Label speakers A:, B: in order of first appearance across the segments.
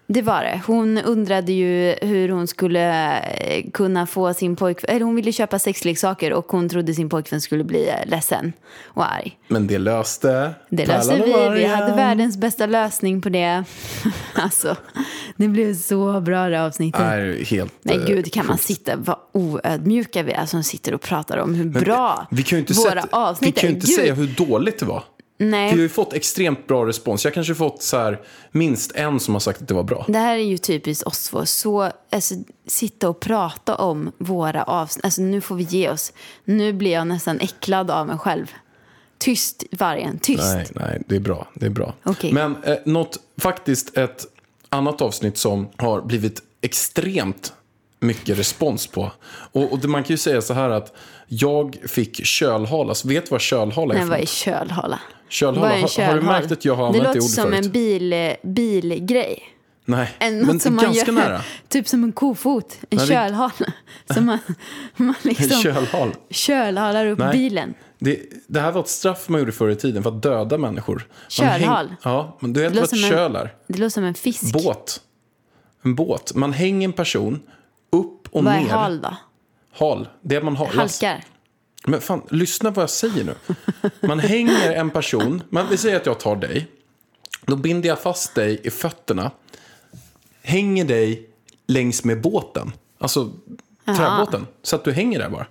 A: Det var det. Hon undrade ju hur hon skulle eh, kunna få sin pojkvän... Eller hon ville köpa sexleksaker och hon trodde sin pojkvän skulle bli eh, ledsen och arg.
B: Men det löste...
A: Det löste
B: Pärlan och
A: vi. Vi
B: vargen.
A: hade världens bästa lösning på det. alltså, det blev så bra det avsnittet. Nej,
B: Nej, helt... eh,
A: gud, kan man sitta, vad oödmjuka vi är som sitter och pratar om hur bra
B: Vi kan ju inte,
A: våra
B: sätta- vi
A: avsnitt
B: kan ju
A: är.
B: inte
A: Gud,
B: säga hur dåligt det var. Vi har
A: nej,
B: ju fått extremt bra respons. Jag kanske fått så här, minst en som har sagt att det var bra.
A: det här är ju typiskt oss två. Så, alltså, sitta och prata om våra avsnitt. Alltså, nu får vi ge oss. Nu blir jag nästan äcklad av mig själv. Tyst, vargen. Tyst.
B: Nej, nej, det är bra. Det är bra.
A: Okej.
B: Men eh, något, faktiskt ett annat avsnitt som har blivit extremt mycket respons på. Och, och det, man kan ju säga så här att jag fick kölhalas. Vet du vad kölhala är?
A: Men
B: för
A: vad är
B: något?
A: kölhala?
B: Kölhala.
A: Vad är
B: Har-
A: en
B: har du
A: kölhala?
B: märkt att jag har
A: Det
B: använt det
A: låter
B: ordet
A: som
B: förut?
A: en bil, eh, bilgrej.
B: Nej,
A: En, något
B: men
A: som man
B: ganska
A: gör,
B: nära.
A: Typ som en kofot, en
B: Nej, det-
A: kölhale. Som man, man liksom
B: Kölhal.
A: kölhalar upp
B: Nej.
A: bilen.
B: Det, det här var ett straff man gjorde förör i tiden för att döda människor. Man häng-
A: Kölhal.
B: Ja, men du vet
A: Det
B: vad ett
A: låter som en-
B: köl är?
A: Det låter som en fisk.
B: Båt. En båt. Man hänger en person upp och
A: Vad är
B: ner.
A: hal då?
B: Hal. Det man halas.
A: Halkar?
B: Men fan, lyssna vad jag säger nu. Man hänger en person. Man, vi säger att jag tar dig. Då binder jag fast dig i fötterna. Hänger dig längs med båten. Alltså träbåten. Så att du hänger där bara.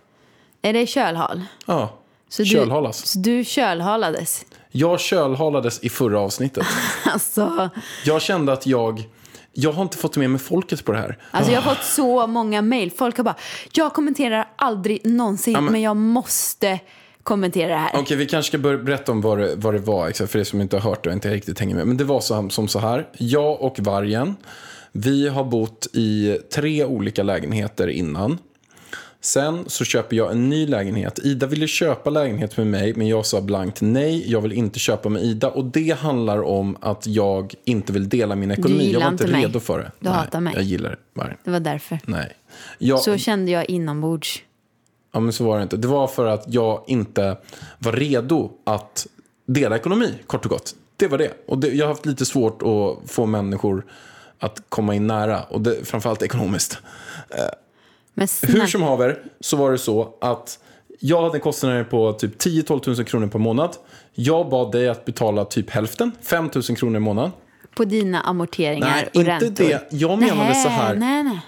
A: Är det kölhal?
B: Ja.
A: Så du-
B: Kölhalas.
A: Så du kölhalades?
B: Jag kölhalades i förra avsnittet.
A: Alltså,
B: Jag kände att jag... Jag har inte fått med mig folket på det här.
A: alltså jag har fått så många mejl. Folk har bara, jag kommenterar aldrig någonsin men... jag måste kommentera det här.
B: Okej, vi kanske ska börja berätta om vad det, vad det var, exakt, för er som inte har hört det och inte riktigt hänger med. Men det var så, som så här, jag och vargen, vi har bott i tre olika lägenheter innan. Sen så köper jag en ny lägenhet. Ida ville köpa lägenhet med mig, men jag sa blankt nej. Jag vill inte köpa med Ida. Och det handlar om att jag inte vill dela min ekonomi. Jag
A: gillar
B: var inte
A: inte mig.
B: redo för det.
A: Du
B: nej,
A: hatar mig.
B: Jag gillar vargen.
A: Det var därför.
B: Nej. Jag,
A: Så kände jag inombords.
B: Ja, men så var det inte. Det var för att jag inte var redo att dela ekonomi, kort och gott. Det var det. Och det, jag har haft lite svårt att få människor att komma in nära, och det, framförallt ekonomiskt.
A: Men
B: Hur
A: snälla,
B: som haver så var det så att jag hade kostnader på typ 10-12 000 kronor per månad. Jag bad dig att betala typ hälften, 5 000 kronor i månaden.
A: på dina amorteringar
B: Nej,
A: och
B: inte
A: räntor.
B: det. Jag menade
A: nej,
B: så här,
A: Nej, nej.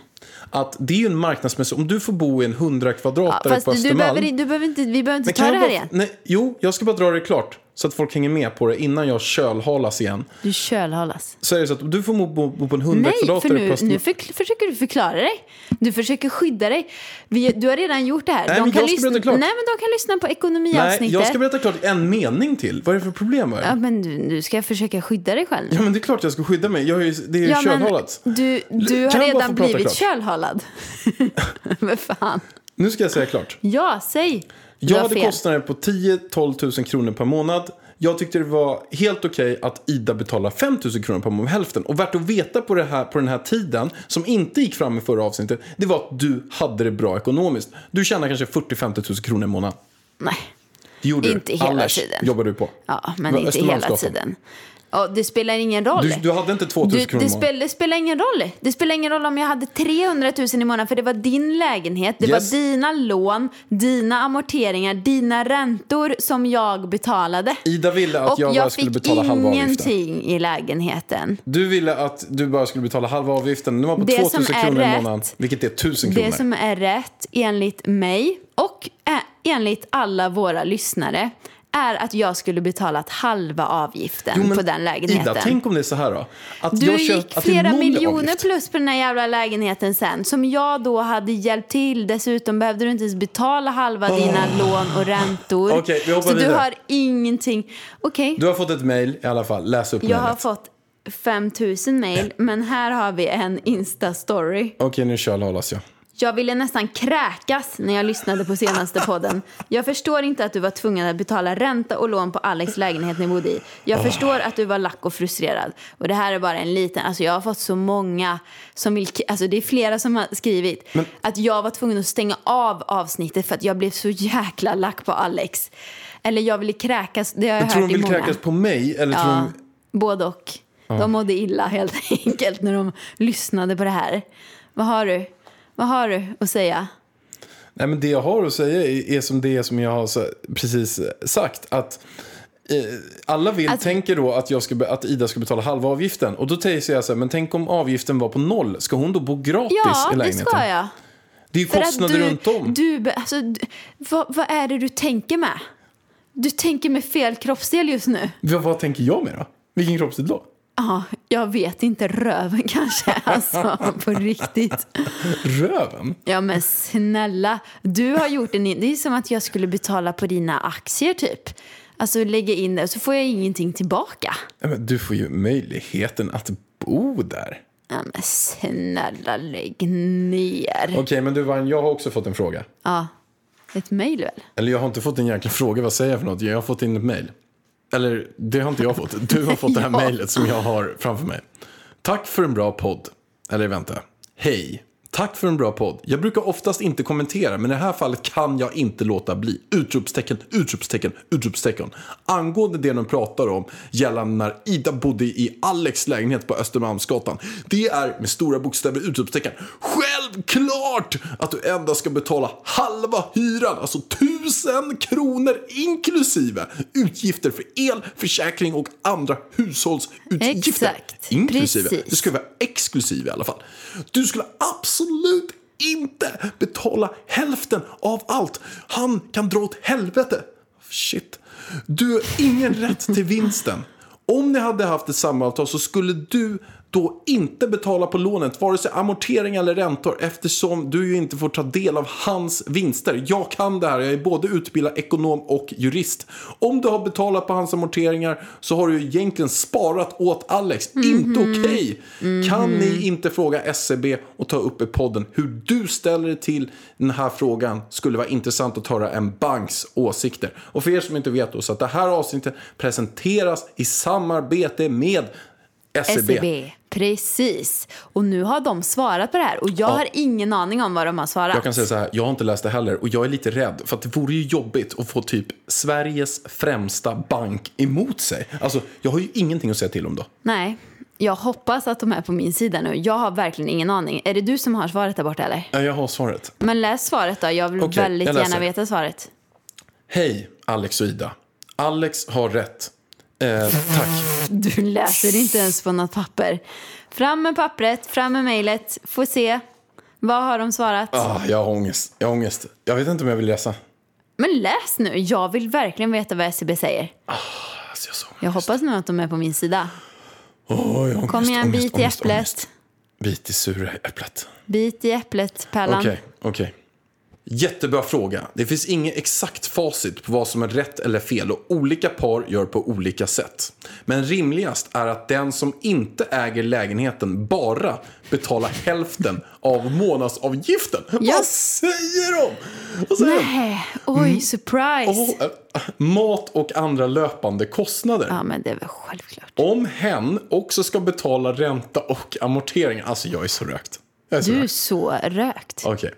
B: att det är ju en marknadsmässig... Om du får bo i en 100
A: Ja,
B: kvadratare
A: fast
B: på
A: du, du,
B: Östermalm...
A: behöver, inte- du behöver inte, vi behöver inte ta det
B: jag
A: här
B: bara,
A: igen.
B: Nej, jo, jag ska bara dra det klart. Så att folk hänger med på det innan jag kölhalas igen.
A: Du kölhalas.
B: Så är det så att du får mo- bo, bo på en 100
A: Nej, för
B: kvadratare
A: nu,
B: Östermalm.
A: nu förk- försöker du förklara dig. Du försöker skydda dig. Vi, du har redan gjort det här.
B: Nej, men jag ska
A: lyssna,
B: berätta klart.
A: Nej, men de kan lyssna på ekonomiavsnittet.
B: Nej, jag ska berätta klart en mening till. Vad är det för problem? Med
A: ja,
B: det?
A: men du, du ska försöka skydda dig själv.
B: Ja, men det är klart jag ska skydda mig. Jag är ju, det är ju
A: Ja, men
B: kölhalat.
A: du, du
B: Kan
A: har
B: jag bara
A: redan
B: få prata
A: blivit
B: klart?
A: kölhalad. men fan.
B: Nu ska jag säga klart.
A: Ja, säg. Du
B: Jag
A: har
B: hade
A: fel.
B: kostnader på 10-12 000 kronor per månad. Jag tyckte det var helt okej att Ida betalar 5 000 kronor per månad, hälften. Och värt att veta på, det här, på den här tiden, som inte gick fram i förra avsnittet, det var att du hade det bra ekonomiskt. Du tjänar kanske 40-50 000 kronor i månaden.
A: Nej.
B: Det gjorde
A: Inte
B: du.
A: hela
B: Allers
A: tiden.
B: jobbar du på.
A: Ja, men
B: Va-
A: inte hela
B: Östermalmsgatan.
A: tiden. Ja, det spelar ingen roll.
B: Du, du hade inte 2000
A: Du,
B: kronor
A: det,
B: i månaden.
A: spel, det spelar ingen roll. Det spelar ingen roll om jag hade 300 000 i månaden för det var din lägenhet, det
B: Yes.
A: var dina lån, dina amorteringar, dina räntor som jag betalade.
B: Ida ville att
A: Och
B: jag,
A: jag,
B: bara skulle
A: fick
B: betala halva avgiften.
A: ingenting i lägenheten.
B: Du ville att du bara skulle betala halva avgiften. Den var på
A: Det
B: 2000
A: som är
B: kronor i
A: rätt-
B: månaden, vilket är 1000 kronor.
A: Det som är rätt enligt mig och eh, enligt alla våra lyssnare är att jag skulle betalat halva avgiften
B: Jo, men
A: på den lägenheten.
B: Ida, tänk om det är så här då. Att
A: Du
B: jag
A: gick
B: köpt, att det är
A: flera
B: noll i
A: miljoner
B: avgift.
A: plus på den här jävla lägenheten sen som jag då hade hjälpt till. Dessutom behövde du inte ens betala halva dina lån och räntor.
B: Okej, vi hoppar
A: Så du
B: vidare.
A: har ingenting. Okej,
B: Du har fått ett mejl i alla fall. Läs upp
A: jag har
B: mejlet.
A: fått 5000 mejl men här har vi en Insta-story.
B: Okej, nu kör Lalas jag.
A: Jag ville nästan kräkas när jag lyssnade på senaste podden. Jag förstår inte att du var tvungen att betala ränta och lån på Alex lägenhet ni bodde i. Jag förstår att du var lack och frustrerad. Och det här är bara en liten, alltså jag har fått så många som vill, alltså det är flera som har skrivit att jag var tvungen att stänga av avsnittet för att jag blev så jäkla lack på Alex. Eller jag ville kräkas, det har jag
B: Tror de
A: hört i
B: vill
A: många.
B: kräkas på mig eller tror
A: Ja,
B: de...
A: både och. De mådde illa helt enkelt när de lyssnade på det här. Vad har du? Vad har du att säga?
B: Nej, men det jag har att säga är, är som det som jag har så, precis sagt. Att eh, alla vill,
A: Alltså-
B: tänker då att, jag ska, be- att Ida ska betala halva avgiften. Och då säger jag så här, men tänk om avgiften var på noll. Ska hon då bo gratis
A: Ja,
B: i
A: det
B: lägenheten?
A: ska jag.
B: Det är ju kostnader
A: du,
B: runt om.
A: Du, be- alltså, du, vad, vad är det du tänker med? Du tänker med fel kroppsdel just nu.
B: Vad, vad tänker jag med då? Vilken kroppsdel då?
A: Ja, jag vet inte. Röven kanske. Alltså, på riktigt.
B: Röven?
A: Ja, men snälla. Du har gjort en... Det är som att jag skulle betala på dina aktier, typ. Alltså, lägga in det och så får jag ingenting tillbaka.
B: Nej, men du får ju möjligheten att bo där.
A: Ja, men snälla lägg ner.
B: Okej, men du Varn, jag har också fått en fråga.
A: Ja, ett mejl väl?
B: Eller jag har inte fått en jäkla fråga, vad säger jag för något? Jag har fått in ett mejl. Eller det har inte jag fått. Du har fått det här
A: Ja.
B: mejlet som jag har framför mig. Tack för en bra podd. Eller vänta. Hej. Tack för en bra podd. Jag brukar oftast inte kommentera, men i det här fallet kan jag inte låta bli. Utropstecken, utropstecken, utropstecken. Angående det de pratar om gällande när Ida bodde i Alex lägenhet på Östermalmsgatan. Det är med stora bokstäver utropstecken. Självklart att du endast ska betala halva hyran, alltså tusen kronor inklusive utgifter för el, försäkring och andra hushållsutgifter.
A: Exakt,
B: Inklusive.
A: precis.
B: Det ska vara exklusiv i alla fall. Du skulle absolut inte betala hälften av allt. Han kan dra åt helvete. Shit. Du har ingen rätt till vinsten. Om ni hade haft ett samavtal så skulle du då inte betala på lånet, vare sig amortering eller räntor eftersom du ju inte får ta del av hans vinster. Jag kan det här, jag är både utbildad ekonom och jurist. Om du har betalat på hans amorteringar så har du ju egentligen sparat åt Alex. Inte okej! Kan ni inte fråga SCB och ta upp i podden hur du ställer dig till den här frågan? Skulle vara intressant att höra en banks åsikter. Och för er som inte vet då, så att det här avsnittet presenteras i samarbete med E SCB.
A: SEB. E Precis. Och nu har de svarat på det här och jag har ingen aning om vad de har svarat.
B: Jag kan säga så här, jag har inte läst det heller och jag är lite rädd för att det vore ju jobbigt att få typ Sveriges främsta bank emot sig. Alltså, jag har ju ingenting att säga till om då.
A: Nej, jag hoppas att de är på min sida nu. Jag har verkligen ingen aning. Är det du som har svaret där borta eller?
B: Ja, Jag har svaret.
A: Men läs svaret då. Jag vill
B: Okej,
A: väldigt
B: jag läser.
A: gärna veta svaret.
B: Hej, Alex och Ida. Alex har rätt. Eh, tack.
A: Du läser inte ens på något papper. Fram med pappret, fram med mejlet. Får se. Vad har de svarat?
B: Ah, jag har ångest. Jag har ångest. Jag vet inte om jag vill läsa.
A: Men läs nu. Jag vill verkligen veta vad E SCB sänger.
B: Alltså, jag har så ångest.
A: Jag hoppas nu att de är på min sida.
B: Åh, jag har ångest.
A: Kom igen,
B: ångest,
A: bit i
B: ångest,
A: äpplet.
B: ångest. Bit i sura äpplet.
A: Bit i äpplet, Pärlan.
B: Okej, okej. Jättebra fråga. Det finns inget exakt facit på vad som är rätt eller fel och olika par gör på olika sätt. Men rimligast är att den som inte äger lägenheten bara betalar hälften av månadsavgiften.
A: Ja.
B: Vad säger de? Vad säger de?
A: Nej,
B: Mm.
A: oj, surprise.
B: Och, eh, mat och andra löpande kostnader.
A: Ja, men det är väl självklart.
B: Om hen också ska betala ränta och amortering. Alltså jag är så rökt. Jag är så
A: Du
B: rökt.
A: är så rökt.
B: Okej.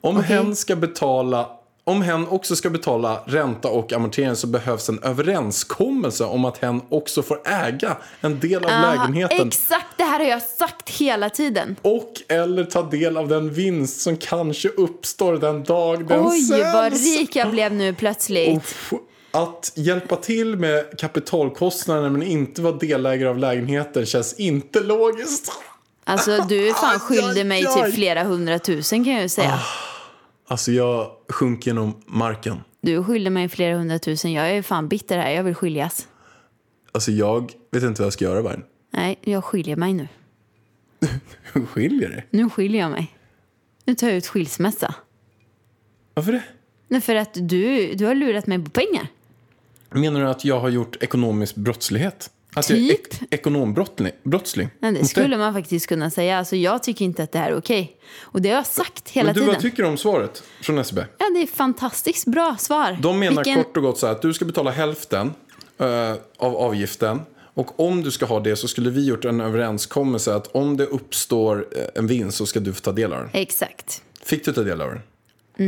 B: Om hen ska betala om hen också ska betala ränta och amortering så behövs en överenskommelse om att hen också får äga en del
A: Ah,
B: av lägenheten.
A: Exakt det här har jag sagt hela tiden.
B: Och eller ta del av den vinst som kanske uppstår den dag den
A: Oj,
B: säljs.
A: vad rik jag blev nu plötsligt.
B: Uff. Att hjälpa till med kapitalkostnaderna men inte vara delägare av lägenheter känns inte logiskt.
A: Alltså du är fan
B: Aj,
A: skyldig mig
B: aj, Ah. aj.
A: till flera hundratusen kan jag ju säga.
B: Alltså jag sjönk genom marken.
A: Du skyller mig flera hundratusen. Jag är ju fan bitter här. Jag vill skiljas.
B: Alltså jag vet inte vad jag ska göra Vargen.
A: Nej, jag skiljer mig nu.
B: Hur skiljer det?
A: Nu skiljer jag mig. Nu tar jag ut skilsmässa.
B: Varför det?
A: Nej, för att du, du har lurat mig på pengar.
B: Menar du att jag har gjort ekonomisk brottslighet? Att jag är
A: Typ.
B: ek- ekonombrottsling? Brottsling?
A: Nej, det
B: Inte?
A: skulle man faktiskt kunna säga. Alltså, jag tycker inte att det här är okej. Och det har jag sagt hela
B: Men du, vad
A: tiden.
B: tycker du om svaret från SEB?
A: Ja, det är fantastiskt bra svar.
B: De menar
A: Vilken-
B: kort och gott så här att du ska betala hälften eh, av avgiften. Och om du ska ha det så skulle vi gjort en överenskommelse att om det uppstår eh, en vinst så ska du få ta del av den.
A: Exakt.
B: Fick du ta del av den?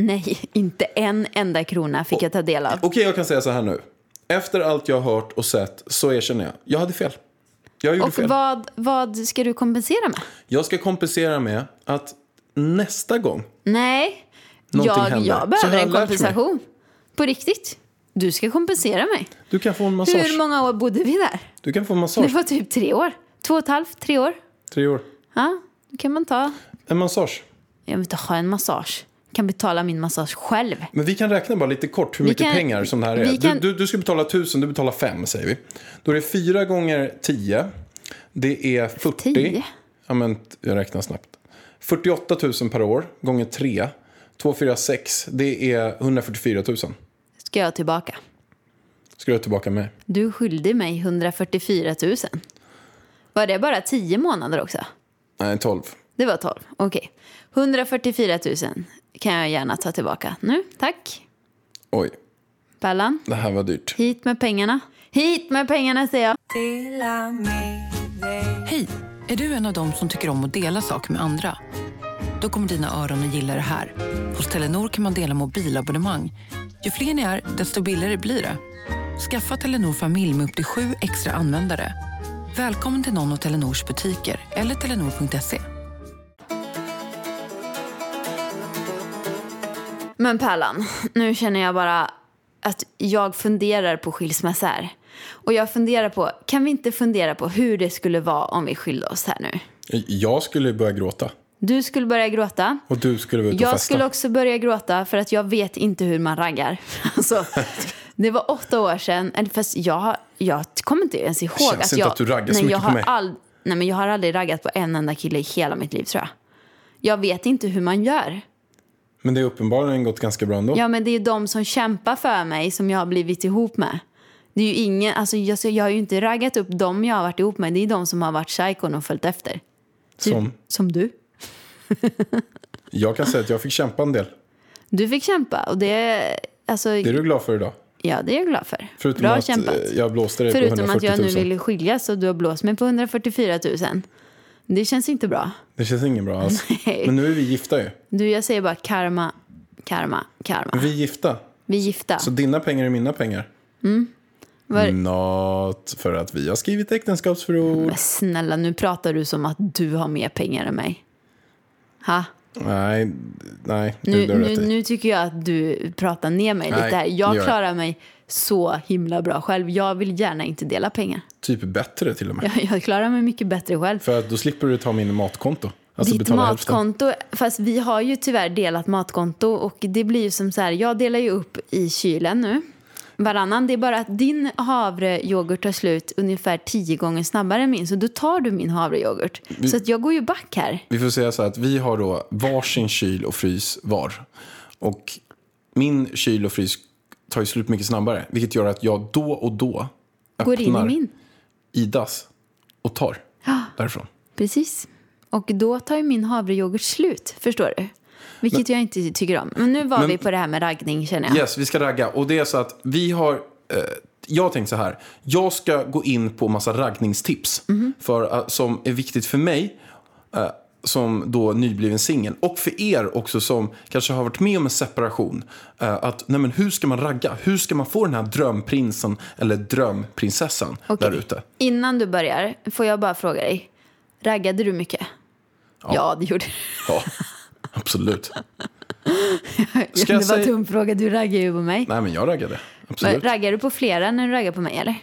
A: Nej, inte en enda krona fick jag ta del av.
B: Okej, jag kan säga så här nu. Efter allt jag har hört och sett så erkänner jag. Jag hade fel. Jag gjorde
A: Och
B: fel.
A: vad, vad ska du kompensera med?
B: Jag ska kompensera med att nästa gång
A: Nej,
B: Någonting
A: jag,
B: händer.
A: jag
B: Så har
A: behöver
B: jag
A: en
B: lärt mig.
A: kompensation. På riktigt. Du ska kompensera mig.
B: du kan få en massage.
A: Hur många år bodde vi där?
B: Du kan få en
A: Det
B: massage.
A: var typ tre år. Två och ett halvt, tre år.
B: Tre år.
A: Ja, då kan man ta.
B: En massage.
A: Jag vill inte ha en massage. Jag kan betala min massage själv.
B: Men vi kan räkna bara lite kort hur mycket
A: kan-
B: pengar som det här är.
A: vi kan-
B: Du, du, du ska betala 1000, du betalar 5 säger vi. Då är det 4 gånger 10. Det är 40.
A: 10?
B: Ja men jag räknar snabbt. 48 000 per år gånger 3. 246, det är 144 000.
A: Ska jag tillbaka?
B: Ska du ha tillbaka med?
A: Du skyllde mig 144 000. Var det bara tio månader också?
B: Nej, 12.
A: Det var 12. Okej. 144 000 kan jag gärna ta tillbaka. Nu, tack.
B: Oj,
A: Pallan,
B: det här var dyrt.
A: hit med pengarna. Hit med pengarna säger jag.
C: Hej! Är du en av dem som tycker om att dela saker med andra? Då kommer dina öron att gilla det här. Hos Telenor kan man dela mobilabonnemang. Ju fler ni är, desto billigare blir det. Skaffa Telenor familj med upp till sju extra användare. Välkommen till någon av Telenors butiker eller telenor.se.
A: Men Pärlan, nu känner jag bara att jag funderar på skilsmässa här. Och jag funderar på, kan vi inte fundera på hur det skulle vara om vi skilde oss här nu?
B: Jag skulle börja gråta.
A: Du skulle börja gråta.
B: Och du skulle vara ute och
A: Jag
B: festa.
A: skulle också börja gråta för att jag vet inte hur man raggar. Alltså, det var åtta år sedan, eller fast jag, har- jag kommer inte ens ihåg
B: Känns
A: att
B: inte
A: jag...
B: att du raggar så
A: nej,
B: mycket
A: jag
B: på
A: har
B: mig.
A: All, nej, men jag har aldrig raggat på en enda kille i hela mitt liv tror jag. Jag vet inte hur man gör.
B: Men det är uppenbarligen gått ganska bra ändå.
A: Ja, men det är ju de som kämpar för mig som jag har blivit ihop med. Det är ju ingen, alltså jag, jag har ju inte raggat upp dem jag har varit ihop med. Det är de som har varit psykon och följt efter. Typ,
B: Som-
A: som du.
B: Jag kan säga att jag fick kämpa en del.
A: Du fick kämpa och det, alltså,
B: Det är du glad för idag?
A: ja, det är jag glad för.
B: Förutom
A: Bra
B: att
A: kämpat.
B: eh, jag blåste dig på
A: Förutom
B: 140
A: att
B: 000.
A: jag nu vill skiljas och du har blåst mig på 144 000. Det känns inte bra.
B: Det känns ingen bra alls.
A: Nej.
B: Men nu är vi gifta ju.
A: Du, jag säger bara karma, karma, karma.
B: Vi är gifta.
A: Vi är gifta.
B: Så Mm. dina pengar är mina pengar.
A: Var-
B: Not för att vi har skrivit äktenskapsförord.
A: Men snälla, nu pratar du som att du har mer pengar än mig. Ha?
B: Nej, nej.
A: Nu,
B: Nu, du har
A: nu,
B: rätt i.
A: nu tycker jag att du pratar ner mig
B: Nej,
A: lite här.
B: gör
A: Jag
B: jag.
A: klarar mig så himla bra själv. Jag vill gärna inte dela pengar.
B: Typ bättre till och med.
A: Jag, jag klarar mig mycket bättre själv.
B: För att då slipper du ta min matkonto. Alltså
A: Ditt
B: betala hälften.
A: matkonto, fast vi har ju tyvärr delat matkonto och det blir ju som så här, jag delar ju upp i kylen nu. Varannan, det är bara att din havrejoghurt tar slut ungefär tio gånger snabbare än min, så då tar du min havrejoghurt. Så att jag går ju back här.
B: Vi får säga så här att vi har då varsin kyl och frys var. Och min kyl och frys tar ju slut mycket snabbare. Vilket gör att jag då och då
A: Går in i
B: öppnar
A: min.
B: Idas och tar därifrån.
A: Precis. Och då tar ju min havrejoghurt slut, förstår du? Vilket jag inte tycker om. Men nu var
B: Men-
A: vi på det här med raggning känner jag.
B: Yes, vi ska ragga. Och det är så att vi har... Eh, jag har tänkt så här. Jag
A: Mhm.
B: ska gå in på massa raggningstips. För, eh, som är viktigt för mig. Eh, som då nybliven singel och för er också som kanske har varit med om en separation. eh, att nej men, hur ska man ragga? Hur ska man få den här drömprinsen eller drömprinsessan
A: Okej.
B: där ute?
A: Innan du börjar, får jag bara fråga dig. Raggade du mycket? Ja, det gjorde du.
B: Ja, absolut.
A: Det var
B: jag säga-
A: en dum fråga, du raggar ju på mig.
B: Nej men jag raggade.
A: Men
B: Absolut.
A: raggar du på flera när du raggar på mig eller?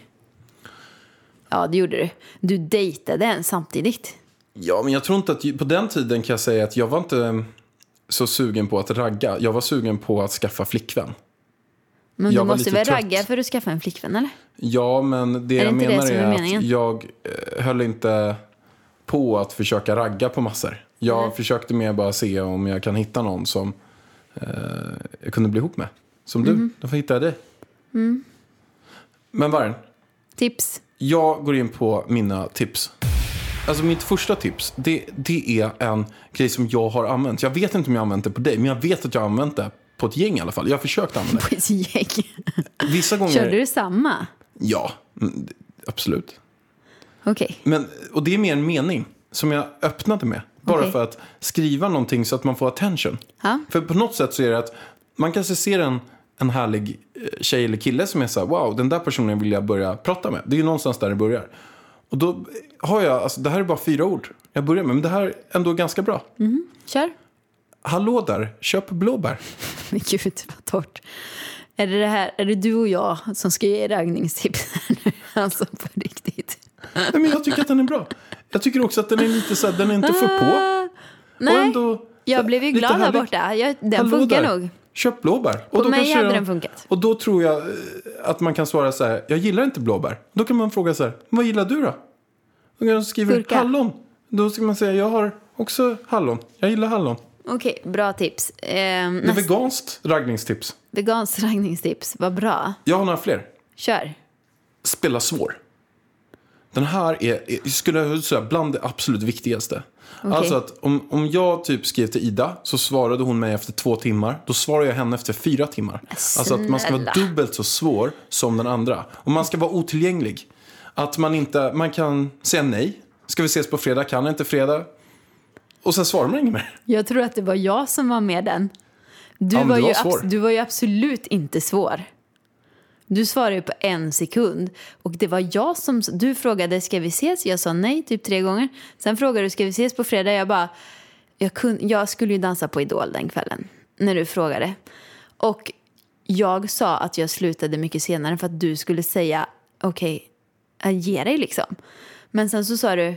A: Ja, det gjorde du. Du dejtade en samtidigt.
B: Ja, men jag tror inte att på den tiden kan jag säga att jag var inte så sugen på att ragga. Jag var sugen på att skaffa flickvän.
A: Men
B: Jag
A: du
B: var
A: måste
B: lite
A: väl
B: trött.
A: ragga för att skaffa en flickvän eller?
B: Ja, men det
A: Är det
B: jag
A: inte det
B: menar
A: som är
B: är att
A: meningen?
B: jag eh, höll inte på att försöka ragga på massor. Jag försökte mer bara se om jag kan hitta någon som eh, jag kunde bli ihop med. Som
A: Mhm.
B: du, då hittade jag dig.
A: Mm.
B: Men Vargen,
A: Tips.
B: jag går in på mina tips. Alltså mitt första tips, det, det är en grej som jag har använt. Jag vet inte om jag har använt det på dig, men jag vet att jag har använt det på ett gäng i alla fall. Jag har försökt använda
A: Quiz gäng.
B: det. Vissa gånger...
A: Körde du samma?
B: Ja, mm, d- absolut.
A: Okej.
B: Men, och det är mer en mening som jag öppnade med. Bara
A: Okej.
B: för att skriva någonting så att man får attention.
A: Ja.
B: För på något sätt så är det att man kanske ser en, en härlig eh, tjej eller kille som är så här, wow, den där personen vill jag börja prata med. Det är ju någonstans där det börjar. Och då har jag, alltså det här är bara fyra ord jag börjar med, men det här är ändå ganska bra.
A: Mm. Kör.
B: Hallå där, köp blåbär.
A: Men gud, vad torrt. Är det, det, här, är det du och jag som ska ge raggningstips här nu? Alltså på riktigt.
B: Nej, men jag tycker att den är bra. Jag tycker också att den är lite så här, den är inte för på. Och
A: Ah, Nej,
B: ändå,
A: jag blev ju
B: lite
A: glad här
B: härlig.
A: borta. Jag, den
B: Hallå
A: funkar
B: där.
A: nog.
B: Köp blåbär. Och
A: På mig
B: kanske
A: hade
B: jag-
A: den funkat.
B: Och då tror jag eh, att man kan svara så här, jag gillar inte blåbär. Då kan man fråga så här, vad gillar du då? Då kan jag skriva
A: Gurka.
B: hallon. Då ska man säga, jag har också hallon. Jag gillar hallon.
A: Okej, bra tips. Eh,
B: Det är
A: nästa,
B: veganskt raggningstips.
A: veganskt raggningstips, vad bra.
B: Jag har några fler.
A: Kör.
B: Spela svår. Den här är, är- skulle jag säga, bland det absolut viktigaste. Alltså att om, om jag typ skrev till Ida så svarade hon mig efter två timmar. Då svarar jag henne efter fyra timmar. Alltså att man ska vara
A: Snälla.
B: dubbelt så svår som den andra. Och man ska vara otillgänglig. Att man inte, man kan säga nej. Ska vi ses på fredag? Kan jag inte fredag? Och sen svarar man inget mer.
A: Jag tror att det var jag som var med den. Du,
B: Ja, men
A: var,
B: du var
A: ju
B: svår.
A: abs- du var ju absolut inte svår. Du svarade ju på en sekund. Och det var jag som... Du frågade ska vi ses? Jag sa nej typ tre gånger. Sen frågade du ska vi ses på fredag? Jag bara... Jag, kun, jag skulle ju dansa på Idol den kvällen när du frågade. Och jag sa att jag slutade mycket senare för att du skulle säga okej, okay, ge dig liksom. Men sen så sa du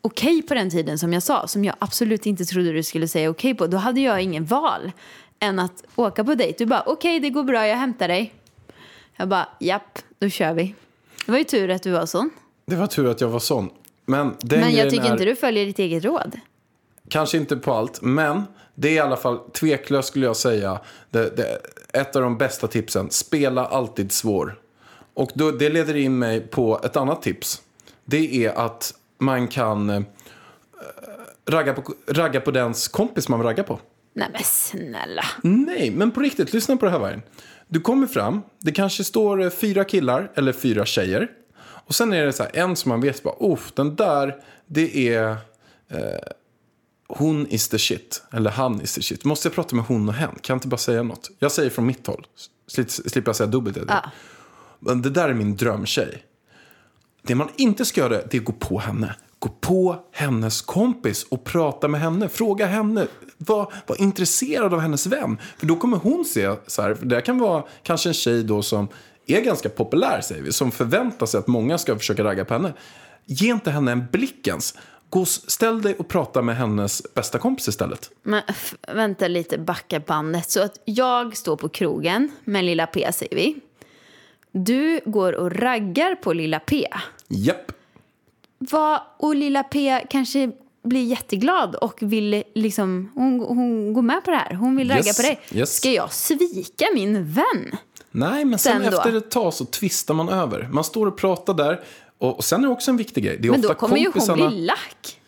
A: okej på den tiden som jag sa, som jag absolut inte trodde du skulle säga okej på. Då hade jag ingen val än att åka på dejt. Du bara okej, det går bra, jag hämtar dig. Jag bara japp, då kör vi. Det var ju tur att du var sån.
B: Det var tur att jag var sån. Men, den
A: Men
B: grejen
A: jag tycker
B: är...
A: inte du följer ditt eget råd.
B: Kanske inte på allt, men det är i alla fall tveklöst skulle jag säga. Det, det, ett av de bästa tipsen. Spela alltid svår. Och då, det leder in mig på ett annat tips. Det är att man kan eh, ragga, på, ragga på dens kompis man raggar på.
A: Nej men snälla.
B: Nej, men på riktigt, lyssna på det här vargen. Du kommer fram, det kanske står eh, fyra killar eller fyra tjejer. Och sen är det så här, en som man vet bara, oh, den där, det är... Eh, hon is the shit, eller han is the shit. Måste jag prata med hon och hen? Kan jag inte bara säga något? Jag säger från mitt håll, Sli- slipper jag säga dubbelt. Ja. Men det där är min drömtjej. Det man inte ska göra det är att gå på henne. Gå på hennes kompis och prata med henne. Fråga henne. Var, var intresserad av hennes vän. För då kommer hon se så här. För det här kan vara kanske en tjej då som är ganska populär säger vi. Som förväntar sig att många ska försöka ragga på henne. Ge inte henne en blick ens. Gå, och s- ställ dig och prata med hennes bästa kompis istället.
A: Men f- vänta lite, backa bandet. Så att jag står på krogen med Lilla P säger vi. Du går och raggar på Lilla P.
B: Japp.
A: Vad, och Lilla P kanske blir jätteglad och vill liksom, hon, hon går med på det här. Hon vill ragga
B: Yes,
A: på dig.
B: yes.
A: Ska jag svika min vän?
B: Nej, men sen,
A: Sen då?
B: efter ett tag så tvistar man över. Man står och pratar där. Och, och sen är det också en viktig grej. Det är
A: Men
B: ofta
A: då kommer ju
B: kompisarna...
A: hon bli lack.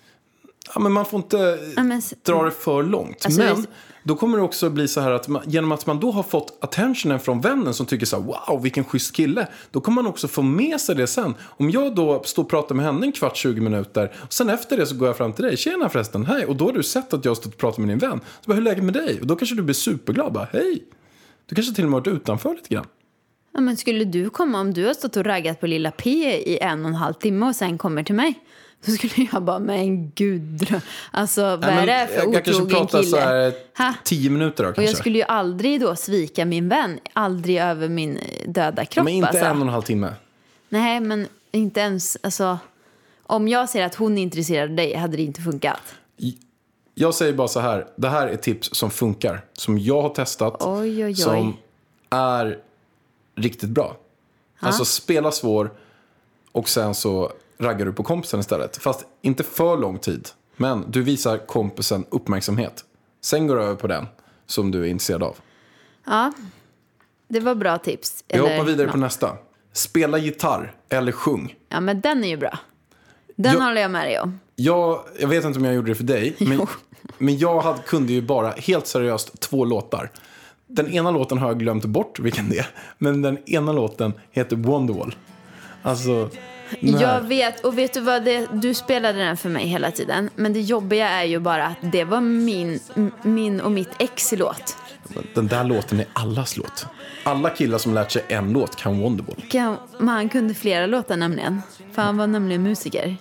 B: ja, men man får inte
A: Ja, men s-
B: dra det för långt.
A: Alltså,
B: men
A: det-
B: då kommer det också bli så här att man, genom att man då har fått attentionen från vännen som tycker så här wow vilken schysst kille. Då kommer man också få med sig det sen. Om jag då står och pratar med henne en kvart, 20 minuter och sen efter det så går jag fram till dig. Tjena förresten, hej. Och då har du sett att jag har stått och pratat med din vän. Så bara, hur är läget med dig? Och då kanske du blir superglad bara, hej. Du kanske till och med har varit utanför lite grann.
A: Ja, men skulle du komma om du har stått och raggat på lilla P i en och en halv timme och sen kommer till mig? Då skulle jag bara, men gud. Alltså, vad
B: Nej,
A: är
B: men
A: det för
B: jag, jag kanske
A: otrogen
B: pratar
A: kille?
B: så här
A: Ha?
B: 10 minuter då kanske.
A: Och jag skulle ju aldrig då svika min vän. Aldrig över min döda kropp.
B: Men inte
A: alltså.
B: en och en halv timme.
A: Nej, men inte ens... Alltså, om jag ser att hon är intresserad av dig hade det inte funkat.
B: Jag säger bara så här, det här är tips som funkar, som jag har testat,
A: Oj, oj, oj.
B: som är riktigt bra. Alltså spela svår och sen så raggar du på kompisen istället. Fast inte för lång tid, men du visar kompisen uppmärksamhet. Sen går du över på den som du är intresserad av.
A: Ja, det var bra tips.
B: Jag
A: Eller-
B: hoppar vidare på
A: ja.
B: nästa. Spela gitarr eller sjung.
A: ja, men den är ju bra. Den
B: Jag-
A: håller jag med dig om.
B: Jag, jag vet inte om jag gjorde det för dig, men, men jag hade, kunde ju bara helt seriöst två låtar. Den ena låten har jag glömt bort vilken det är, men den ena låten heter Wonderwall. Alltså, den
A: Jag
B: här.
A: vet, och vet du vad, det, du spelade den för mig hela tiden. Men det jobbiga är ju bara att det var min, m- min och mitt ex låt.
B: Den där låten är allas låt. Alla killar som lärt sig en låt kan Wonderwall.
A: Kan- men Han kunde flera låtar nämligen. För han var nämligen musiker.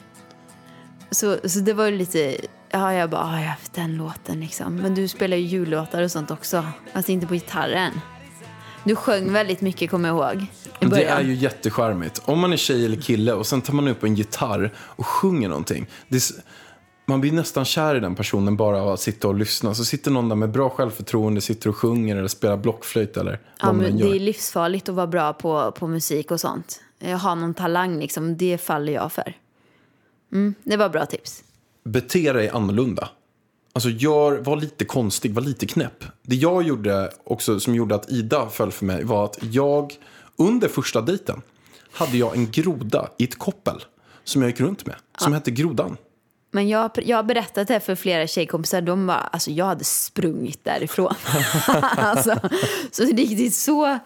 A: Så, så det var ju lite, ja jag bara, ja jag har haft den låten liksom. Men du spelar ju jullåtar och sånt också. Alltså inte på gitarren. Du sjöng väldigt mycket kommer jag ihåg. I
B: Det
A: början.
B: är ju jättecharmigt. Om man är tjej eller kille och sen tar man upp en gitarr och sjunger någonting. Det är, s- man blir nästan kär i den personen bara av att sitta och lyssna. Så sitter någon där med bra självförtroende, sitter och sjunger eller spelar blockflöjt eller
A: Ja,
B: vad man
A: men
B: gör.
A: det är livsfarligt att vara bra på, på musik och sånt. Jag har någon talang liksom, det faller jag för. Mm, det var bra tips.
B: bete dig annorlunda. Alltså gör, var lite konstig, var lite knäpp. Det jag gjorde också som gjorde att Ida föll för mig var att jag under första dejten hade jag en groda i ett koppel som jag gick runt med. Som hette Grodan.
A: Men jag, jag har berättat det här för flera tjejkompisar. De bara, alltså jag hade sprungit därifrån. alltså, så riktigt så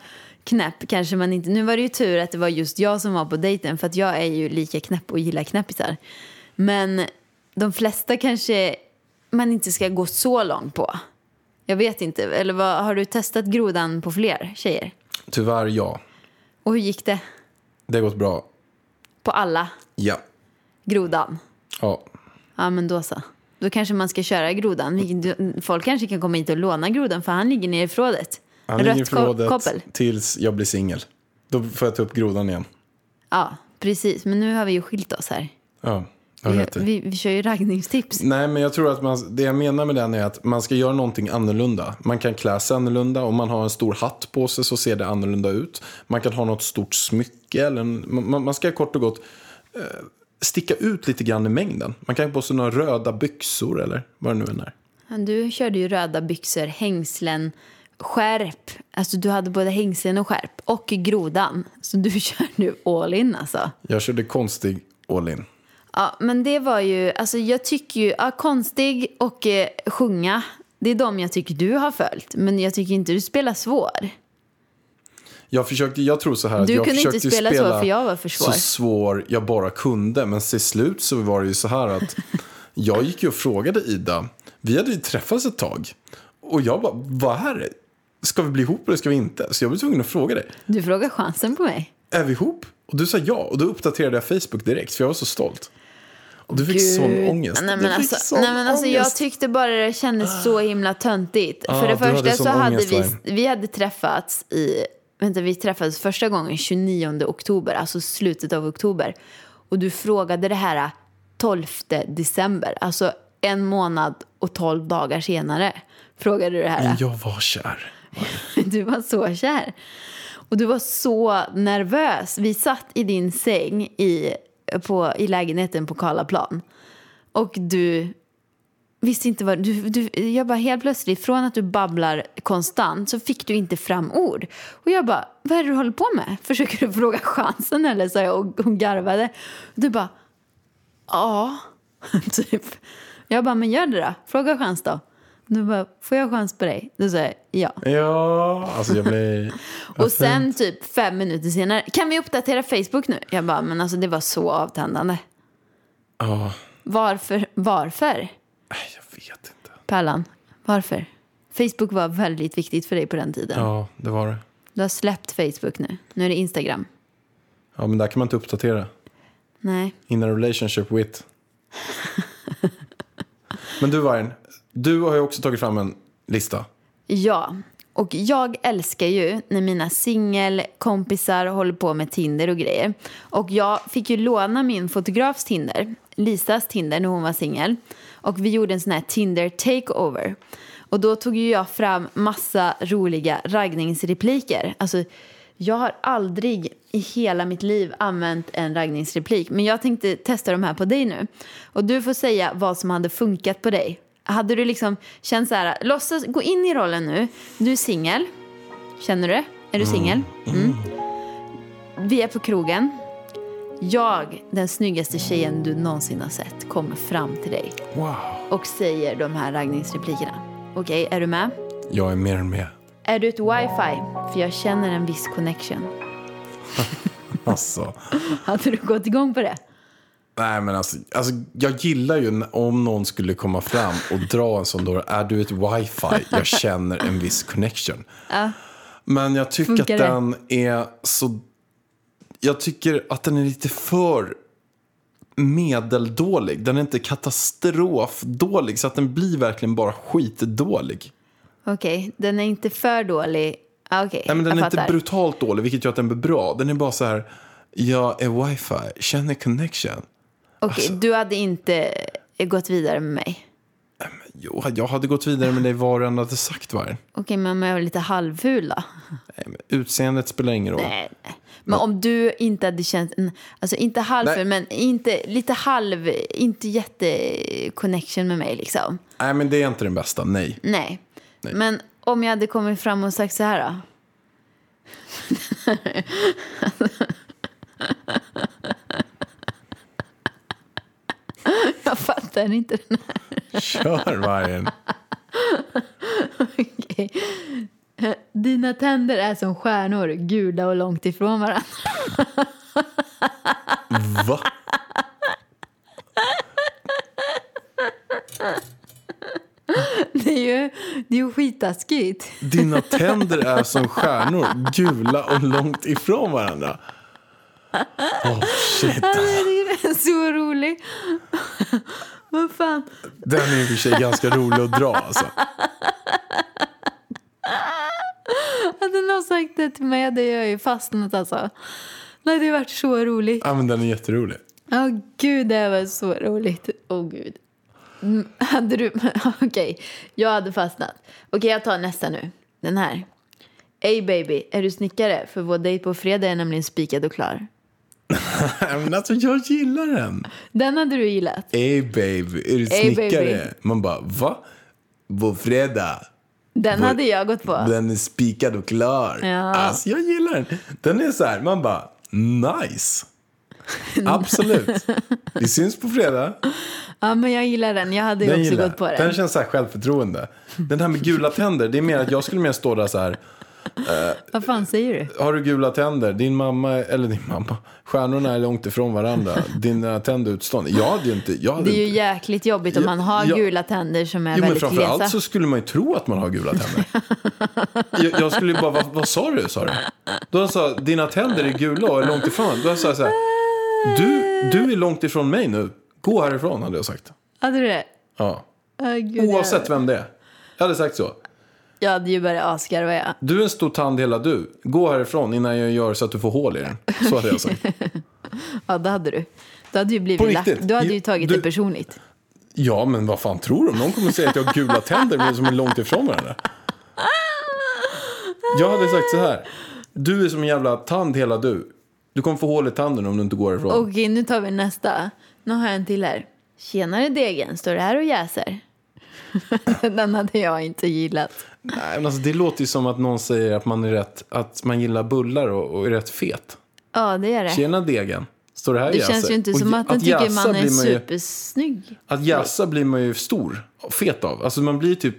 A: knäpp kanske man inte... Nu var det ju tur att det var just jag som var på dejten för att jag är ju lika knäpp och gillar knäppisar. Men de flesta kanske man inte ska gå så långt på. Jag vet inte. Eller vad, har du testat grodan på fler tjejer?
B: Tyvärr ja,
A: Och hur gick det?
B: det har gått bra.
A: På alla?
B: Ja.
A: Grodan?
B: ja.
A: Ja, men då så. Då kanske man ska köra grodan. Vilken- Folk kanske kan komma hit och låna grodan för han ligger nere i förrådet.
B: Han ligger i
A: Rött ko-
B: förrådet
A: koppel.
B: tills jag blir singel. Då får jag ta upp grodan igen.
A: Ja, precis. Men nu har vi ju skilt oss här.
B: Ja, jag har
A: Vi,
B: rätt i.
A: vi, vi kör ju raggningstips.
B: Nej, men jag tror att man, det jag menar med den är att man ska göra någonting annorlunda. Man kan klä sig annorlunda. Om man har en stor hatt på sig så ser det annorlunda ut. Man kan ha något stort smycke. Eller en, man, man ska kort och gott eh, sticka ut lite grann i mängden. Man kan ha på sig några röda byxor eller vad det nu än är.
A: Men Du körde ju röda byxor, hängslen, skärp. Alltså du hade både hängslen och skärp. Och grodan. Så du kör nu all in alltså.
B: Jag körde konstig all in.
A: Ja, men det var ju, alltså jag tycker ju, ja, konstig och eh, sjunga, det är de jag tycker du har följt. Men jag tycker inte du spelar svår.
B: Jag, försökte, jag tror så här att
A: Du
B: jag
A: kunde inte
B: försökte ju
A: spela så, för jag var för svår.
B: så svår jag bara kunde. Men till slut så var det ju så här att jag gick ju och frågade Ida. Vi hade ju träffats ett tag. Och jag bara, vad är det? Ska vi bli ihop eller ska vi inte? Så jag blev tvungen att fråga dig.
A: Du frågar chansen på mig.
B: Är vi ihop? Och du sa ja. Och då uppdaterade jag Facebook direkt för jag var så stolt. Och du fick sån ångest.
A: Nej,
B: du
A: men
B: fick
A: alltså,
B: sån
A: nej, men alltså, jag
B: ångest.
A: tyckte bara det kändes så himla töntigt.
B: Ah,
A: För det
B: du hade
A: första
B: sån
A: så hade
B: ångest,
A: vi,
B: Lime.
A: vi hade träffats i, vänta, vi träffades första gången 29 oktober, alltså slutet av oktober. Och du frågade det här 12 december, alltså en månad och 12 dagar senare. Frågade du det här.
B: Men jag var kär.
A: Du var så kär. Och du var så nervös. Vi satt i din säng i, på, i lägenheten på Karlaplan. Och du visste inte vad... Du, du, jag bara helt plötsligt, från att du babblar konstant så fick du inte fram ord. Och jag bara, vad är det du håller på med? Försöker du fråga chansen eller? sa jag och hon garvade. Och du bara, ja, typ. Jag bara, men gör det då. Fråga chans då. Du bara, får jag chans på dig? Då sa jag, ja.
B: Ja, alltså jag blir...
A: Och sen typ fem minuter senare, kan vi uppdatera Facebook nu? Jag bara, men alltså det var så avtändande.
B: Ja,
A: Varför? Varför?
B: nej, jag vet inte.
A: Pärlan, varför? Facebook var väldigt viktigt för dig på den tiden.
B: Ja, det var det.
A: Du har släppt Facebook nu. Nu är det Instagram.
B: Ja, men där kan man inte uppdatera.
A: Nej.
B: In a relationship with. Men du Vargen, du har ju också tagit fram en lista.
A: Ja, och jag älskar ju när mina singelkompisar håller på med Tinder och grejer. Och jag fick ju låna min fotografs Tinder, Lisas Tinder, när hon var singel. Och vi gjorde en sån här Tinder takeover. Och då tog ju jag fram massa roliga raggningsrepliker. Alltså, jag har aldrig i hela mitt liv använt en raggningsreplik. Men jag tänkte testa de här på dig nu. Och du får säga vad som hade funkat på dig. Hade du liksom känt så här, låtsas, gå in i rollen nu. Du är singel. Känner du det? Är du singel? Mm. Vi är på krogen. Jag, den snyggaste tjejen du någonsin har sett, kommer fram till dig
B: Wow.
A: och säger de här raggningsreplikerna. Okej, är du med?
B: Jag är mer än med.
A: Är du ett wifi? För jag känner en viss connection.
B: Alltså.
A: Hade du gått igång på det?
B: Nej men alltså, alltså, jag gillar ju n- om någon skulle komma fram och dra en sån då. Är du ett wifi? Jag känner en viss connection. Men jag tycker
A: Funkar
B: att
A: det?
B: den är så... Jag tycker att den är lite för medeldålig. Den är inte katastrofdålig så att den blir verkligen bara skitdålig.
A: Okej, den är inte för dålig. Ah, Okej,
B: Nej, men den är
A: jag
B: inte
A: fattar.
B: brutalt dålig, vilket gör att den blir bra. Den är bara så här, jag är wifi, känner connection.
A: Okej,
B: Alltså.
A: du hade inte eh, gått vidare med mig.
B: Jo, jag hade gått vidare med dig vad du än hade sagt var.
A: Okej, men om jag var lite halvful då?
B: Nej, men Utseendet spelar ingen roll.
A: Nej, nej. Men om du inte hade känt, mm, alltså inte halvful,
B: Nej.
A: men inte, lite halv, inte jätte-connection med mig liksom.
B: Nej, men det är inte den bästa. Nej.
A: Nej. Men om jag hade kommit fram och sagt så här då? jag fattar inte den här.
B: Kör vargen.
A: Okej. Dina tänder är som stjärnor, gula och långt ifrån varandra.
B: Va?
A: Det är ju, det är ju skittaskigt.
B: Dina tänder är som stjärnor, gula och långt ifrån varandra. Oh, shit.
A: Alltså, jag tycker den är så rolig. Vad fan.
B: Den är i och för sig ganska rolig att dra. Alltså.
A: Hade någon sagt det till mig hade jag ju fastnat alltså. Det hade ju varit så roligt.
B: Ja, men den är jätterolig.
A: Åh gud, det här var så roligt. Åh gud. Mm, Hade du... Okej, jag hade fastnat. Okej, jag tar nästa nu. Den här. Ey baby, är du snickare? För vår dejt på fredag är nämligen spikad och klar.
B: Nej, men alltså, jag gillar den.
A: Den hade du gillat.
B: Ey baby, är du
A: Ey,
B: snickare?
A: baby.
B: Man bara, va? På fredag?
A: Den hade jag gått på.
B: Den är spikad och klar.
A: Ja.
B: Alltså jag gillar den. Den är så här, man bara, nice. Absolut. Vi syns på fredag.
A: Ja, men jag gillar den. Jag hade ju
B: Den
A: också
B: gillar
A: gått på
B: jag.
A: den.
B: Den känns så här självförtroende. Den här med gula tänder, det är mer att jag skulle mer stå där så här.
A: Vad fan säger du?
B: Har du gula tänder? Din mamma, eller din mamma, stjärnorna är långt ifrån varandra. Dina tänder är utstående. Jag hade ju inte, jag hade
A: Det är ju
B: inte.
A: jäkligt jobbigt om
B: Ja,
A: man har
B: ja.
A: gula tänder som är
B: Jo, men
A: väldigt glesa.
B: framförallt så skulle man ju tro att man har gula tänder. jag, jag skulle ju bara, vad, vad sa du? Sa du? Då sa jag, dina tänder är gula och är långt ifrån. Då sa jag så här, du, du är långt ifrån mig nu. Gå härifrån, hade jag sagt.
A: Hade du det?
B: Ja.
A: Åh, gud, jag-
B: Oavsett vem det är. Jag hade sagt så.
A: Jag hade ju börjat asgarva, ja.
B: Du är en stor tand hela du. Gå härifrån innan jag gör så att du får hål i den. Så hade jag sagt.
A: Ja, det hade du. Du hade ju
B: På
A: blivit lack.
B: riktigt?
A: Du hade ju
B: Ja,
A: tagit
B: du-
A: det personligt.
B: Ja, men vad fan tror du? Om Någon kommer säga att jag har gula tänder men som är långt ifrån varandra. Jag hade sagt så här. Du är som en jävla tand hela du. Du kommer få hål i tanden om du inte går ifrån.
A: Okej, nu tar vi nästa. Nu har jag en till här. Tjenare degen, står du här och jäser? Den hade jag inte gillat.
B: Nej, men alltså, det låter ju som att någon säger att man, är rätt, att man gillar bullar och, och är rätt fet.
A: Ja, det är det.
B: Tjena degen. står det här
A: Det
B: Jazza?
A: känns ju inte
B: Och
A: som att den tycker
B: Jazza
A: man är
B: blir man ju-
A: supersnygg.
B: Att jassa blir man ju stor, fet av. Alltså man blir typ...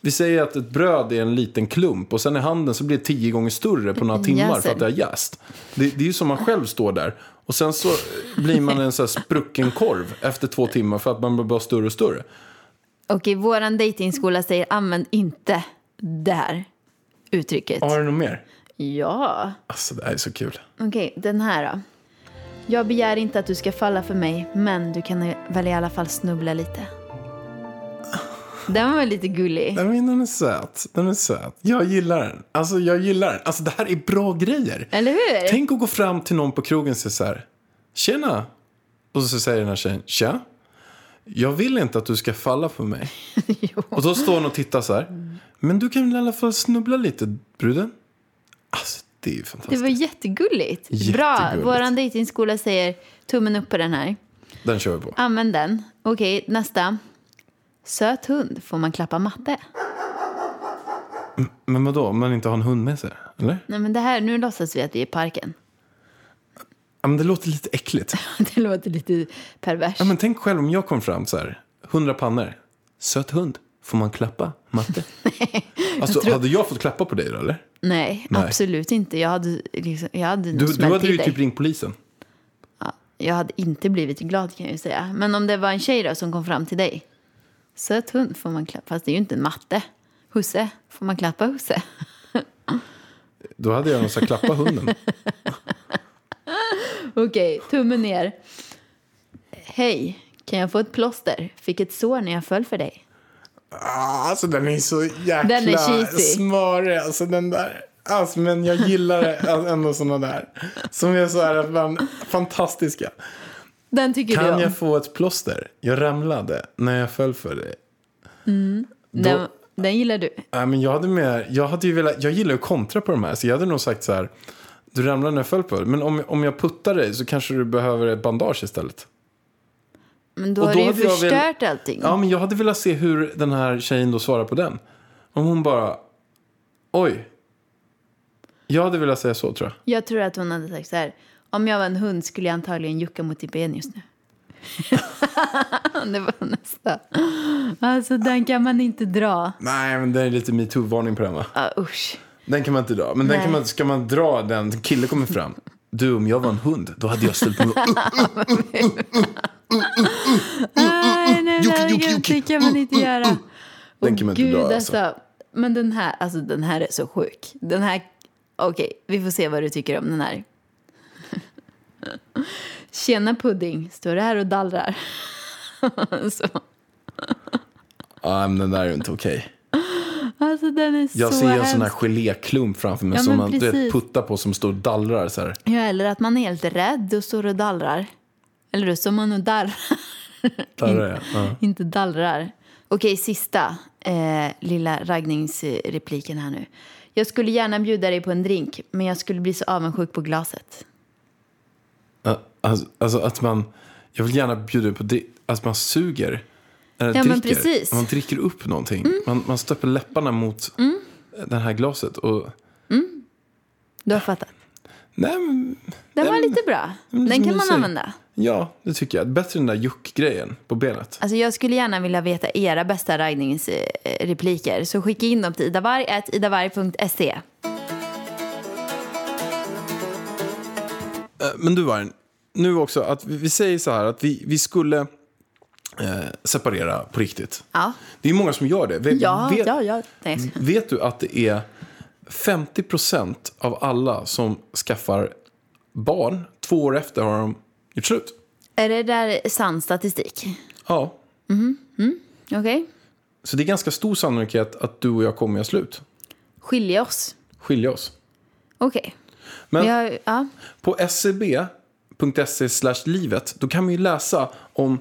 B: Vi säger att ett bröd är en liten klump och sen i handen så blir det tio gånger större på några timmar för att det har jäst. Det, det är ju som man själv står där. Och sen så blir man en sån här sprucken korv efter två timmar för att man blir bara större och större.
A: Okej, våran dejtingskola säger använd inte det här uttrycket.
B: Har du något mer?
A: Ja.
B: Alltså det här är så kul.
A: Okej, den här då. Jag begär inte att du ska falla för mig, men du kan väl i alla fall snubbla lite. Den var väl lite gullig?
B: Nej, men den är söt. Den är söt. Jag gillar den. Alltså jag gillar den. Alltså det här är bra grejer.
A: Eller hur?
B: Tänk att gå fram till någon på krogen och säga så här. Tjena! Och så säger den här tjejen. Tja! Jag vill inte att du ska falla för mig. och då står hon och tittar så här. Men du kan väl i alla fall snubbla lite bruden? Alltså det är ju
A: Det
B: fantastiskt.
A: var jättegulligt. Bra.
B: Jättegulligt.
A: Vår dejtingskola säger tummen upp på den här.
B: Den kör vi på.
A: Använd den. Okej, nästa. Söt hund, får man klappa matte?
B: Men vadå, om man inte har en hund med sig? Eller?
A: Nej, men det här, nu låtsas vi att vi är i parken.
B: Ja, men det låter lite äckligt.
A: Det låter lite pervers.
B: Ja, men tänk själv om jag kom fram så här. Hundra pannor. Söt hund. Får man klappa matte? alltså, hade jag fått klappa på dig då eller?
A: Nej,
B: Nej.
A: absolut inte. Jag hade, liksom, jag hade nog
B: Du, du
A: smält
B: hade
A: i
B: ju
A: dig.
B: typ ringt polisen.
A: Jag hade inte blivit glad kan jag ju säga. Men om det var en tjej då som kom fram till dig. Söt hund får man klappa. Fast det är ju inte en matte. Husse, får man klappa husse?
B: Då hade jag nog sagt klappa hunden.
A: Okej, tummen ner. Hej, kan jag få ett plåster? Fick ett sår när jag föll för dig.
B: Ah, alltså den är så
A: Den är
B: jäkla
A: cheesy.
B: smarig. Alltså den där. Alltså, men jag gillar alltså, ändå sådana där. Som är så här man, fantastiska.
A: Den tycker du
B: Kan
A: om.
B: jag få ett plåster? Jag ramlade när jag föll för dig.
A: Mm. Den, den gillar du.
B: Nej, men jag, hade med, jag, hade ju velat, jag gillar ju att kontra på de här. Så jag hade nog sagt så här. Du ramlade när jag föll på dig. Men om, om jag puttar dig så kanske du behöver ett bandage istället.
A: Men då
B: Och
A: har
B: då
A: du ju
B: hade jag väl-
A: förstört allting.
B: Ja, men jag hade velat se hur den här tjejen då svarar på den. Om hon bara... Oj. Jag hade velat säga så, tror jag.
A: Jag tror att hon hade sagt så här. Om jag var en hund skulle jag antagligen jucka mot ditt ben just nu. det var nästa. Alltså den kan man inte dra.
B: Nej, men det är lite metoo-varning på den, va?
A: Ah, usch.
B: Den kan man inte dra. Men den
A: Nej.
B: kan man, ska man dra den, en kille kommer fram. Du, om jag var en hund, då hade jag ställt mig upp. Mm,
A: Nej, nej,
B: Yuki,
A: nej,
B: yuki,
A: gud,
B: yuki.
A: det kan man inte göra.
B: Mm, Den
A: Åh,
B: kan man inte
A: gud,
B: dra, alltså.
A: alltså. Men den här, alltså den här är så sjuk. Den här, okej, vi får se vad du tycker om den här. Tjena pudding, står du här och dallrar? så.
B: Ja, men den där är ju inte okej.
A: Alltså den är
B: Jag
A: så
B: ser en
A: hemsk.
B: sån här geléklump framför mig
A: Ja,
B: som
A: men
B: man du vet,
A: precis.
B: puttar på som står och dallrar så här.
A: Ja, eller att man är helt rädd och står och dallrar. Eller då står man och darrar,
B: Darrar
A: Mm.
B: jag. Ja.
A: inte dallrar. Okej, sista eh, lilla raggningsrepliken här nu. Jag skulle gärna bjuda dig på en drink, men jag skulle bli så avundsjuk på glaset.
B: Ja, Alltså, alltså att man, jag vill gärna bjuda på dri- att man suger. Eller
A: Ja,
B: dricker.
A: men precis. Mm.
B: Man dricker upp någonting. Man, man stöper läpparna mot det här glaset. Och,
A: Du har fattat.
B: nej, men,
A: Den var
B: men-
A: lite bra.
B: men som
A: Den kan
B: du
A: man
B: säger.
A: använda.
B: ja, det tycker jag. Bättre än den där juckgrejen på benet.
A: Alltså jag skulle gärna vilja veta era bästa raggningsrepliker. Så skicka in dem till idavarg.idavarg.se.
B: Eh, Men du Vargen, nu också att vi, vi säger så här att vi, vi skulle eh, separera på riktigt.
A: Ja.
B: Det är ju många som gör det. Vi-
A: Ja,
B: vet-
A: ja, ja. Nej, jag skojar.
B: Vet du att det är 50% av alla som skaffar barn, två år efter har de gjort slut?
A: Är det där sann statistik?
B: Ja.
A: Okej.
B: Så det är ganska stor sannolikhet att du och jag kommer göra slut.
A: Skilja oss.
B: Skilja oss.
A: Okej.
B: Men
A: Vi har- Ja.
B: på E scb.se E livet, då kan man ju läsa om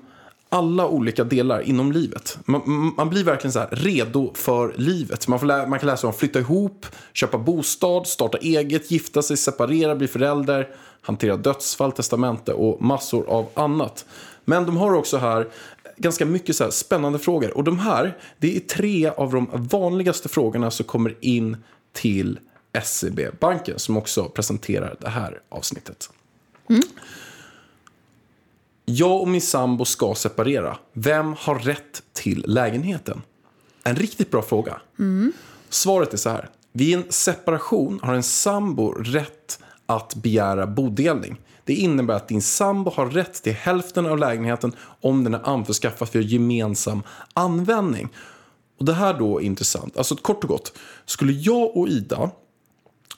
B: alla olika delar inom livet. Man, man blir verkligen så här redo för livet. Man, får lä- man kan läsa om flytta ihop, köpa bostad, starta eget, gifta sig, separera, bli förälder, hantera dödsfall, testamente och massor av annat. Men de har också här ganska mycket så här spännande frågor. Och de här, det är tre av de vanligaste frågorna som kommer in till E SEB-banken som också presenterar det här avsnittet. Jag och min sambo ska separera. Vem har rätt till lägenheten? En riktigt bra fråga. Svaret är så här. Vid en separation har en sambo rätt att begära bodelning. Det innebär att din sambo har rätt till hälften av lägenheten om den är anförskaffad för gemensam användning. Och det här då är intressant. Alltså kort och gott, skulle jag och Ida,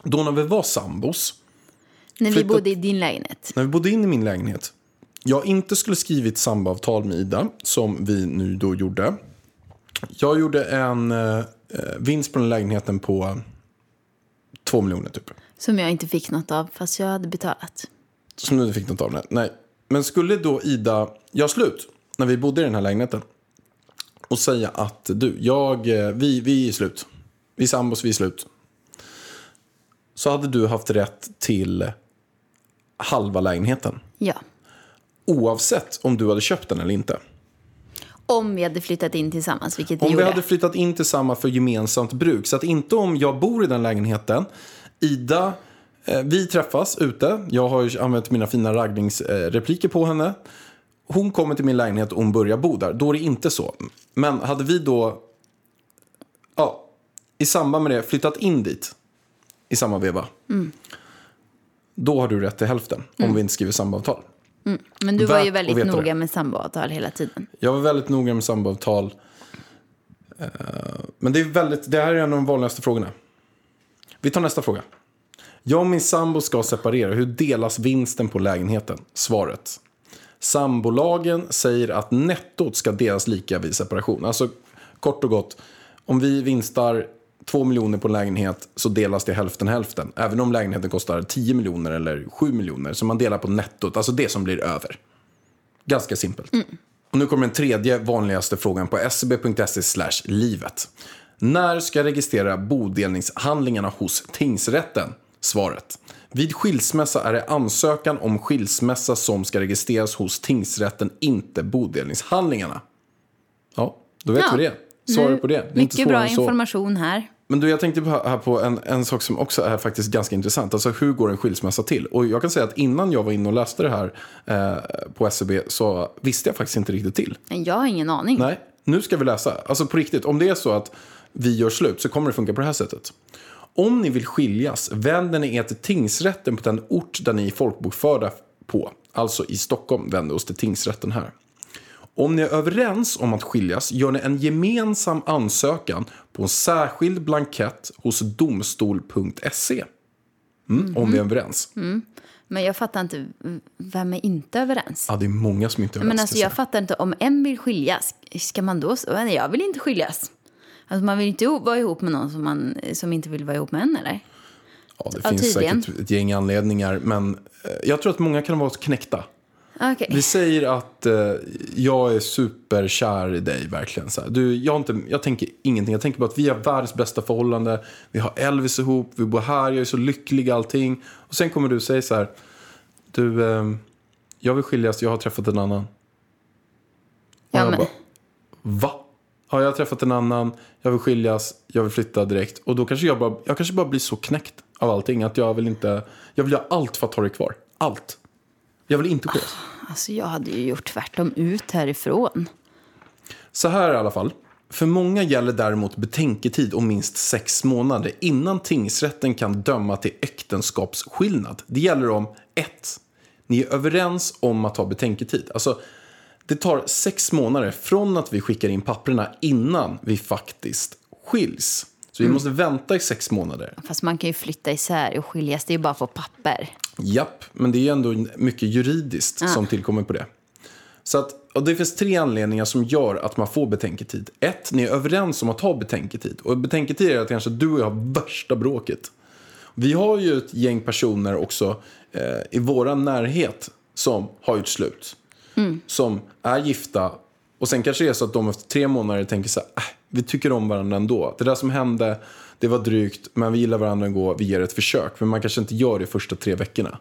B: då när vi var sambos,
D: När vi
B: Flyttat-
D: bodde i din lägenhet.
B: när vi bodde in i min lägenhet, jag inte skulle skrivit samboavtal med Ida, som vi nu då gjorde. Jag gjorde en eh, vinst på den lägenheten på två miljoner typ.
D: Som jag inte fick något av, fast jag hade betalat.
B: Som du inte fick något av. Nej. Nej. Men skulle då Ida göra slut när vi bodde i den här lägenheten och säga att du, jag, eh, vi, vi är slut. Vi är sambos, vi är slut. Så hade du haft rätt till halva lägenheten.
D: Ja.
B: Oavsett om du hade köpt den eller inte.
D: Om vi hade flyttat in tillsammans, vilket vi
B: Om vi
D: gjorde.
B: hade flyttat in tillsammans för gemensamt bruk. Så att inte om jag bor i den lägenheten, Ida, eh, vi träffas ute. Jag har ju använt mina fina raggningsrepliker på henne. Hon kommer till min lägenhet och hon börjar bo där. Då är det inte så. Men hade vi då, ja, i samband med det flyttat in dit i samma veva. Då har du rätt till hälften om vi inte skriver samboavtal.
D: Men du var
B: Värt
D: ju
B: att
D: väldigt
B: veta
D: noga
B: det.
D: med samboavtal hela tiden.
B: Jag var väldigt noga med samboavtal. Eh, Men det, är väldigt, det här är en av de vanligaste frågorna. Vi tar nästa fråga. Jag och min sambo ska separera. Hur delas vinsten på lägenheten? Svaret. Sambolagen säger att nettot ska delas lika vid separation. Alltså kort och gott. Om vi vinstar 2 miljoner på en lägenhet så delas det hälften hälften. Även om lägenheten kostar 10 miljoner eller 7 miljoner. Så man delar på nettot, alltså det som blir över. Ganska simpelt.
D: Mm.
B: Och nu kommer den tredje vanligaste frågan på scb.se E slash livet. När ska jag registrera bodelningshandlingarna hos tingsrätten? Svaret. Vid skilsmässa är det ansökan om skilsmässa som ska registreras hos tingsrätten, inte bodelningshandlingarna. Ja, då vet
D: Ja. Mm.
B: vi det. Svaret på det. det är inte
D: Mycket
B: svårare
D: bra
B: än så.
D: information här.
B: Men du, jag tänkte på, här på en, en sak som också är faktiskt ganska intressant. Alltså hur går en skilsmässa till? Och jag kan säga att innan jag var inne och läste det här eh, på SCB så visste jag faktiskt inte riktigt till.
D: Men Jag har ingen aning.
B: Nej, nu ska vi läsa. Alltså på riktigt, om det är så att vi gör slut så kommer det funka på det här sättet. Om ni vill skiljas, vänder ni er till tingsrätten på den ort där ni är folkbokförda på. Alltså i Stockholm vänder oss till tingsrätten här. Om ni är överens om att skiljas gör ni en gemensam ansökan på en särskild blankett hos domstol.se. E. Mm, Om vi är överens.
D: Men jag fattar inte, v- vem är inte överens?
B: Ja, det är många som inte är överens.
D: Men alltså
B: ska
D: jag fattar inte, om en vill skiljas, ska man då... s- Nej, jag vill inte skiljas. Alltså man vill inte o- vara ihop med någon som, man, som inte vill vara ihop med en, eller?
B: Ja, det
D: Ja,
B: finns
D: tydligen.
B: säkert ett gäng anledningar, men eh, jag tror att många kan vara knäckta.
D: Okej.
B: Vi säger att eh, jag är superkär i dig, verkligen. Så här, du, jag, har inte, jag tänker ingenting. Jag tänker bara att vi har världens bästa förhållande. Vi har Elvis ihop, vi bor här, jag är så lycklig allting. Och sen kommer du och säger så här, du, eh, jag vill skiljas, jag har träffat en annan. Och
D: Ja,
B: jag
D: men,
B: bara, va? Ja, jag har träffat en annan, jag vill skiljas, jag vill flytta direkt. Och då kanske jag bara, jag kanske bara blir så knäckt av allting att jag vill inte, jag vill göra allt för att ha dig kvar. Allt. Jag vill inte skiljas.
D: alltså jag hade ju gjort tvärtom ut härifrån.
B: Så här i alla fall. För många gäller däremot betänketid om minst sex månader innan tingsrätten kan döma till äktenskapsskillnad. Det gäller om 1. Ni är överens om att ha betänketid. Alltså, det tar sex månader från att vi skickar in papperna innan vi faktiskt skiljs. Så vi måste vänta i sex månader.
D: Fast man kan ju flytta isär och skiljas, det är ju bara på papper.
B: Japp, men det är ju ändå mycket juridiskt som tillkommer på det. Så att, och det finns tre anledningar som gör att man får betänketid. Ett, ni är överens om att ha betänketid. Och betänketid är att kanske du och jag har värsta bråket. Vi har ju ett gäng personer också eh, i vår närhet som har gjort slut. Som är gifta och sen kanske det är så att de efter tre månader tänker så här, äh, vi tycker om varandra ändå. Det där som hände, det var drygt, men vi gillar varandra ändå, vi ger ett försök. Men man kanske inte gör det första tre veckorna.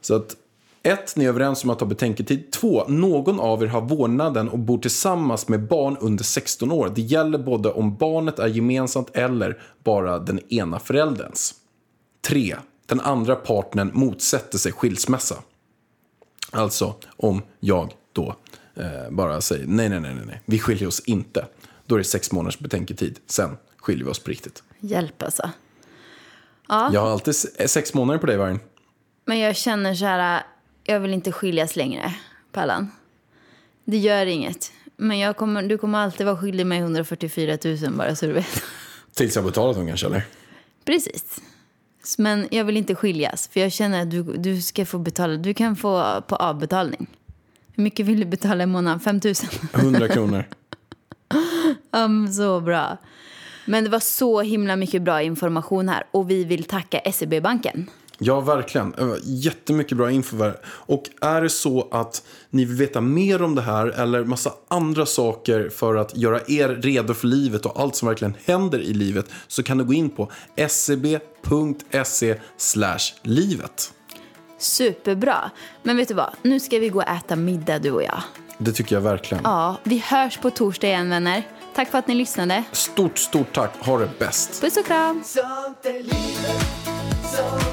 B: Så att ett, ni är överens om att ha betänketid. Två, någon av er har vårdnaden och bor tillsammans med barn under 16 år. Det gäller både om barnet är gemensamt eller bara den ena förälderns. Tre, den andra partnern motsätter sig skilsmässa. Alltså om jag då eh, bara säger nej, nej, nej, nej, nej, vi skiljer oss inte. Då är det sex månaders betänketid, sen skiljer vi oss på riktigt.
A: Hjälp alltså.
B: Jag har alltid se- eh, sex månader på dig, Vargen.
A: Men jag känner så här, jag vill inte skiljas längre, Pallan. Det gör inget. Men jag kommer, du kommer alltid vara skyldig mig 144 000 bara så du vet.
B: Tills jag betalat dem kanske, eller?
A: Precis. Men jag vill inte skiljas, för jag känner att du, du ska få betala. Du kan få på avbetalning. Hur mycket vill du betala i månaden? 5 000?
B: 100 kronor.
A: Mm, så bra. Men det var så himla mycket bra information här och vi vill tacka E SEB-banken.
B: Ja, verkligen. Det var Jättemycket bra info. där. Och är det så att ni vill veta mer om det här eller massa andra saker för att göra er redo för livet och allt som verkligen händer i livet så kan du gå in på e scb.se e livet.
A: Superbra. Men vet du vad? Nu ska vi gå och äta middag du och jag.
B: Det tycker jag verkligen.
A: Ja, vi hörs på torsdag igen vänner. Tack för att ni lyssnade.
B: Stort, stort tack. Ha det bäst.
A: Puss och kram!
E: Sånt är livet, sånt